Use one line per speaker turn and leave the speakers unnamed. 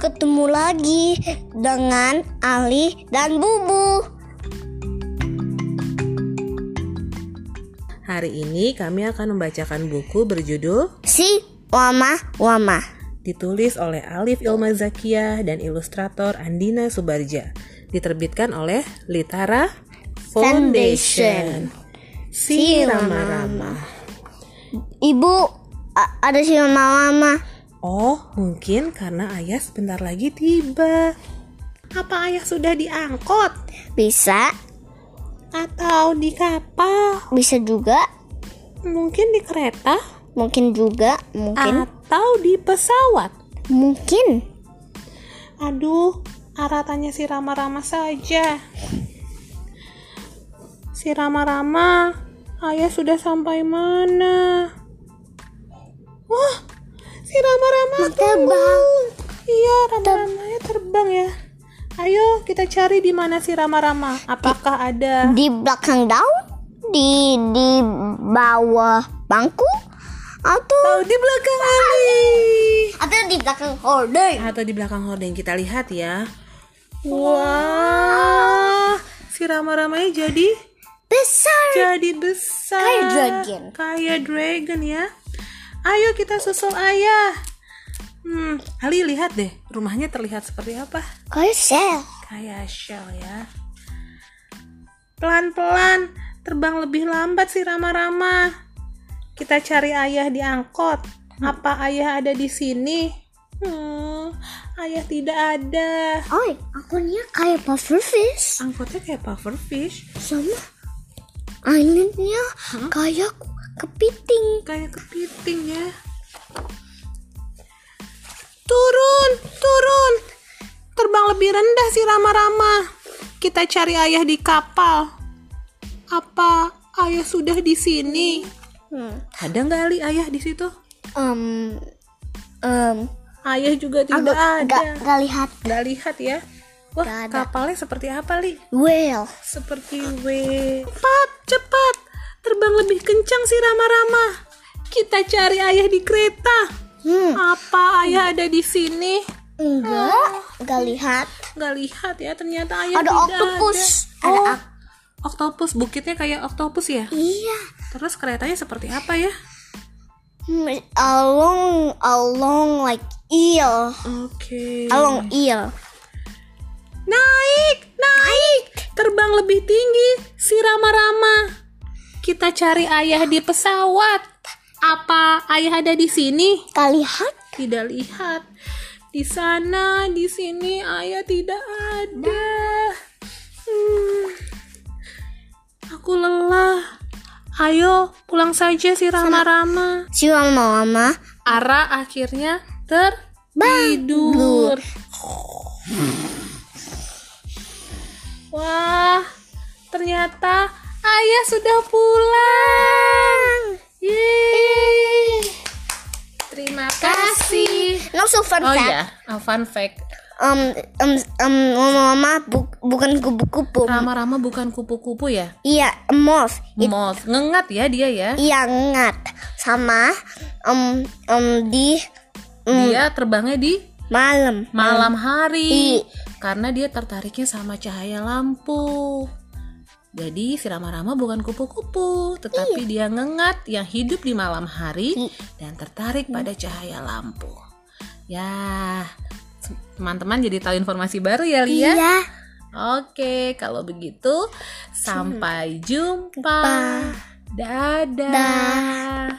ketemu lagi dengan Ali dan Bubu.
Hari ini kami akan membacakan buku berjudul
Si Wama Wama.
ditulis oleh Alif Ilma Zakia dan ilustrator Andina Subarja. Diterbitkan oleh Litara Foundation. Si Rama-Rama.
Ibu, a- ada si Wama Wama.
Oh, mungkin karena ayah sebentar lagi tiba. Apa ayah sudah diangkut
Bisa,
atau di kapal?
bisa juga,
Mungkin di kereta
mungkin juga, mungkin,
atau di pesawat?
mungkin.
Aduh, aratannya si Rama-Rama saja. Si Rama-Rama, ayah sudah sampai mana? Wah, si Rama-Rama
Terbang.
Iya, Rama-Ramanya terbang ya. Ayo kita cari di mana si Rama-Rama. Apakah ada?
Di belakang daun, di di bawah bangku, atau
Tahu di belakang Ali.
atau di belakang hordeng.
Atau di belakang hordeng kita lihat ya. Wah, si Rama-Ramanya jadi
Besar.
jadi besar
Kayak dragon.
kayak dragon ya ayo kita susul ayah hmm Ali lihat deh rumahnya terlihat seperti apa
Kayak sel.
kayak shell ya pelan pelan terbang lebih lambat si Rama Rama kita cari ayah di angkot
Hmm.
apa ayah ada di sini hmm ayah tidak ada
Oi, akunnya kayak pufferfish.
angkotnya kayak pufferfish
Sama islandnya kayak kepiting.
kayak kepiting ya turun turun terbang lebih rendah si rama-rama kita cari ayah di kapal apa ayah sudah di sini
Hmm.
ada nggak ali ayah di situ
Um, um,
ayah juga tidak
agak
ada
gak, gak lihat.
nggak lihat ya wah
Nggak ada.
kapalnya seperti apa li
Whale.
seperti W. Cepat, cepat. Terbang lebih kencang si Rama-Rama. Kita cari ayah di kereta.
Hmm.
Apa ayah ada di sini?
Enggak, gak lihat.
Nggak lihat ya, ternyata ayah
Ada
tidak
octopus.
ada.
Ada
Oh,
ak-
octopus. Bukitnya kayak octopus ya?
Iya.
Terus keretanya seperti apa ya?
Hmm, Along, along like eel.
Oke.
Along eel.
Naik, naik. Terbang lebih tinggi si Rama-Rama. Kita cari ayah di pesawat. Apa ayah ada di sini?
Gak lihat.
tidak lihat di sana di sini ayah tidak ada Hmm. aku lelah ayo pulang saja si rama-rama
Si mama-mama
Ara akhirnya tertidur wah ternyata ayah sudah pulang Yeay. terima kasih
No so fun
Oh
fact.
iya, a fun fact.
um um um mama bu- bukan kupu-kupu
Rama-rama bukan kupu-kupu ya?
iya moth
Moth. Ngengat ya dia ya.
iya ngat sama um um di um.
Dia terbangnya di
malam
malam hari
Um. I-
karena dia tertariknya sama cahaya lampu. Jadi si Rama-Rama bukan kupu-kupu, tetapi dia ngengat yang hidup di malam hari
Iya. I-
dan tertarik pada cahaya lampu. Ya, teman-teman jadi tahu informasi baru ya, Lia.
iya
Oke, kalau begitu sampai jumpa.
Jumpa.
Dadah.
Dah.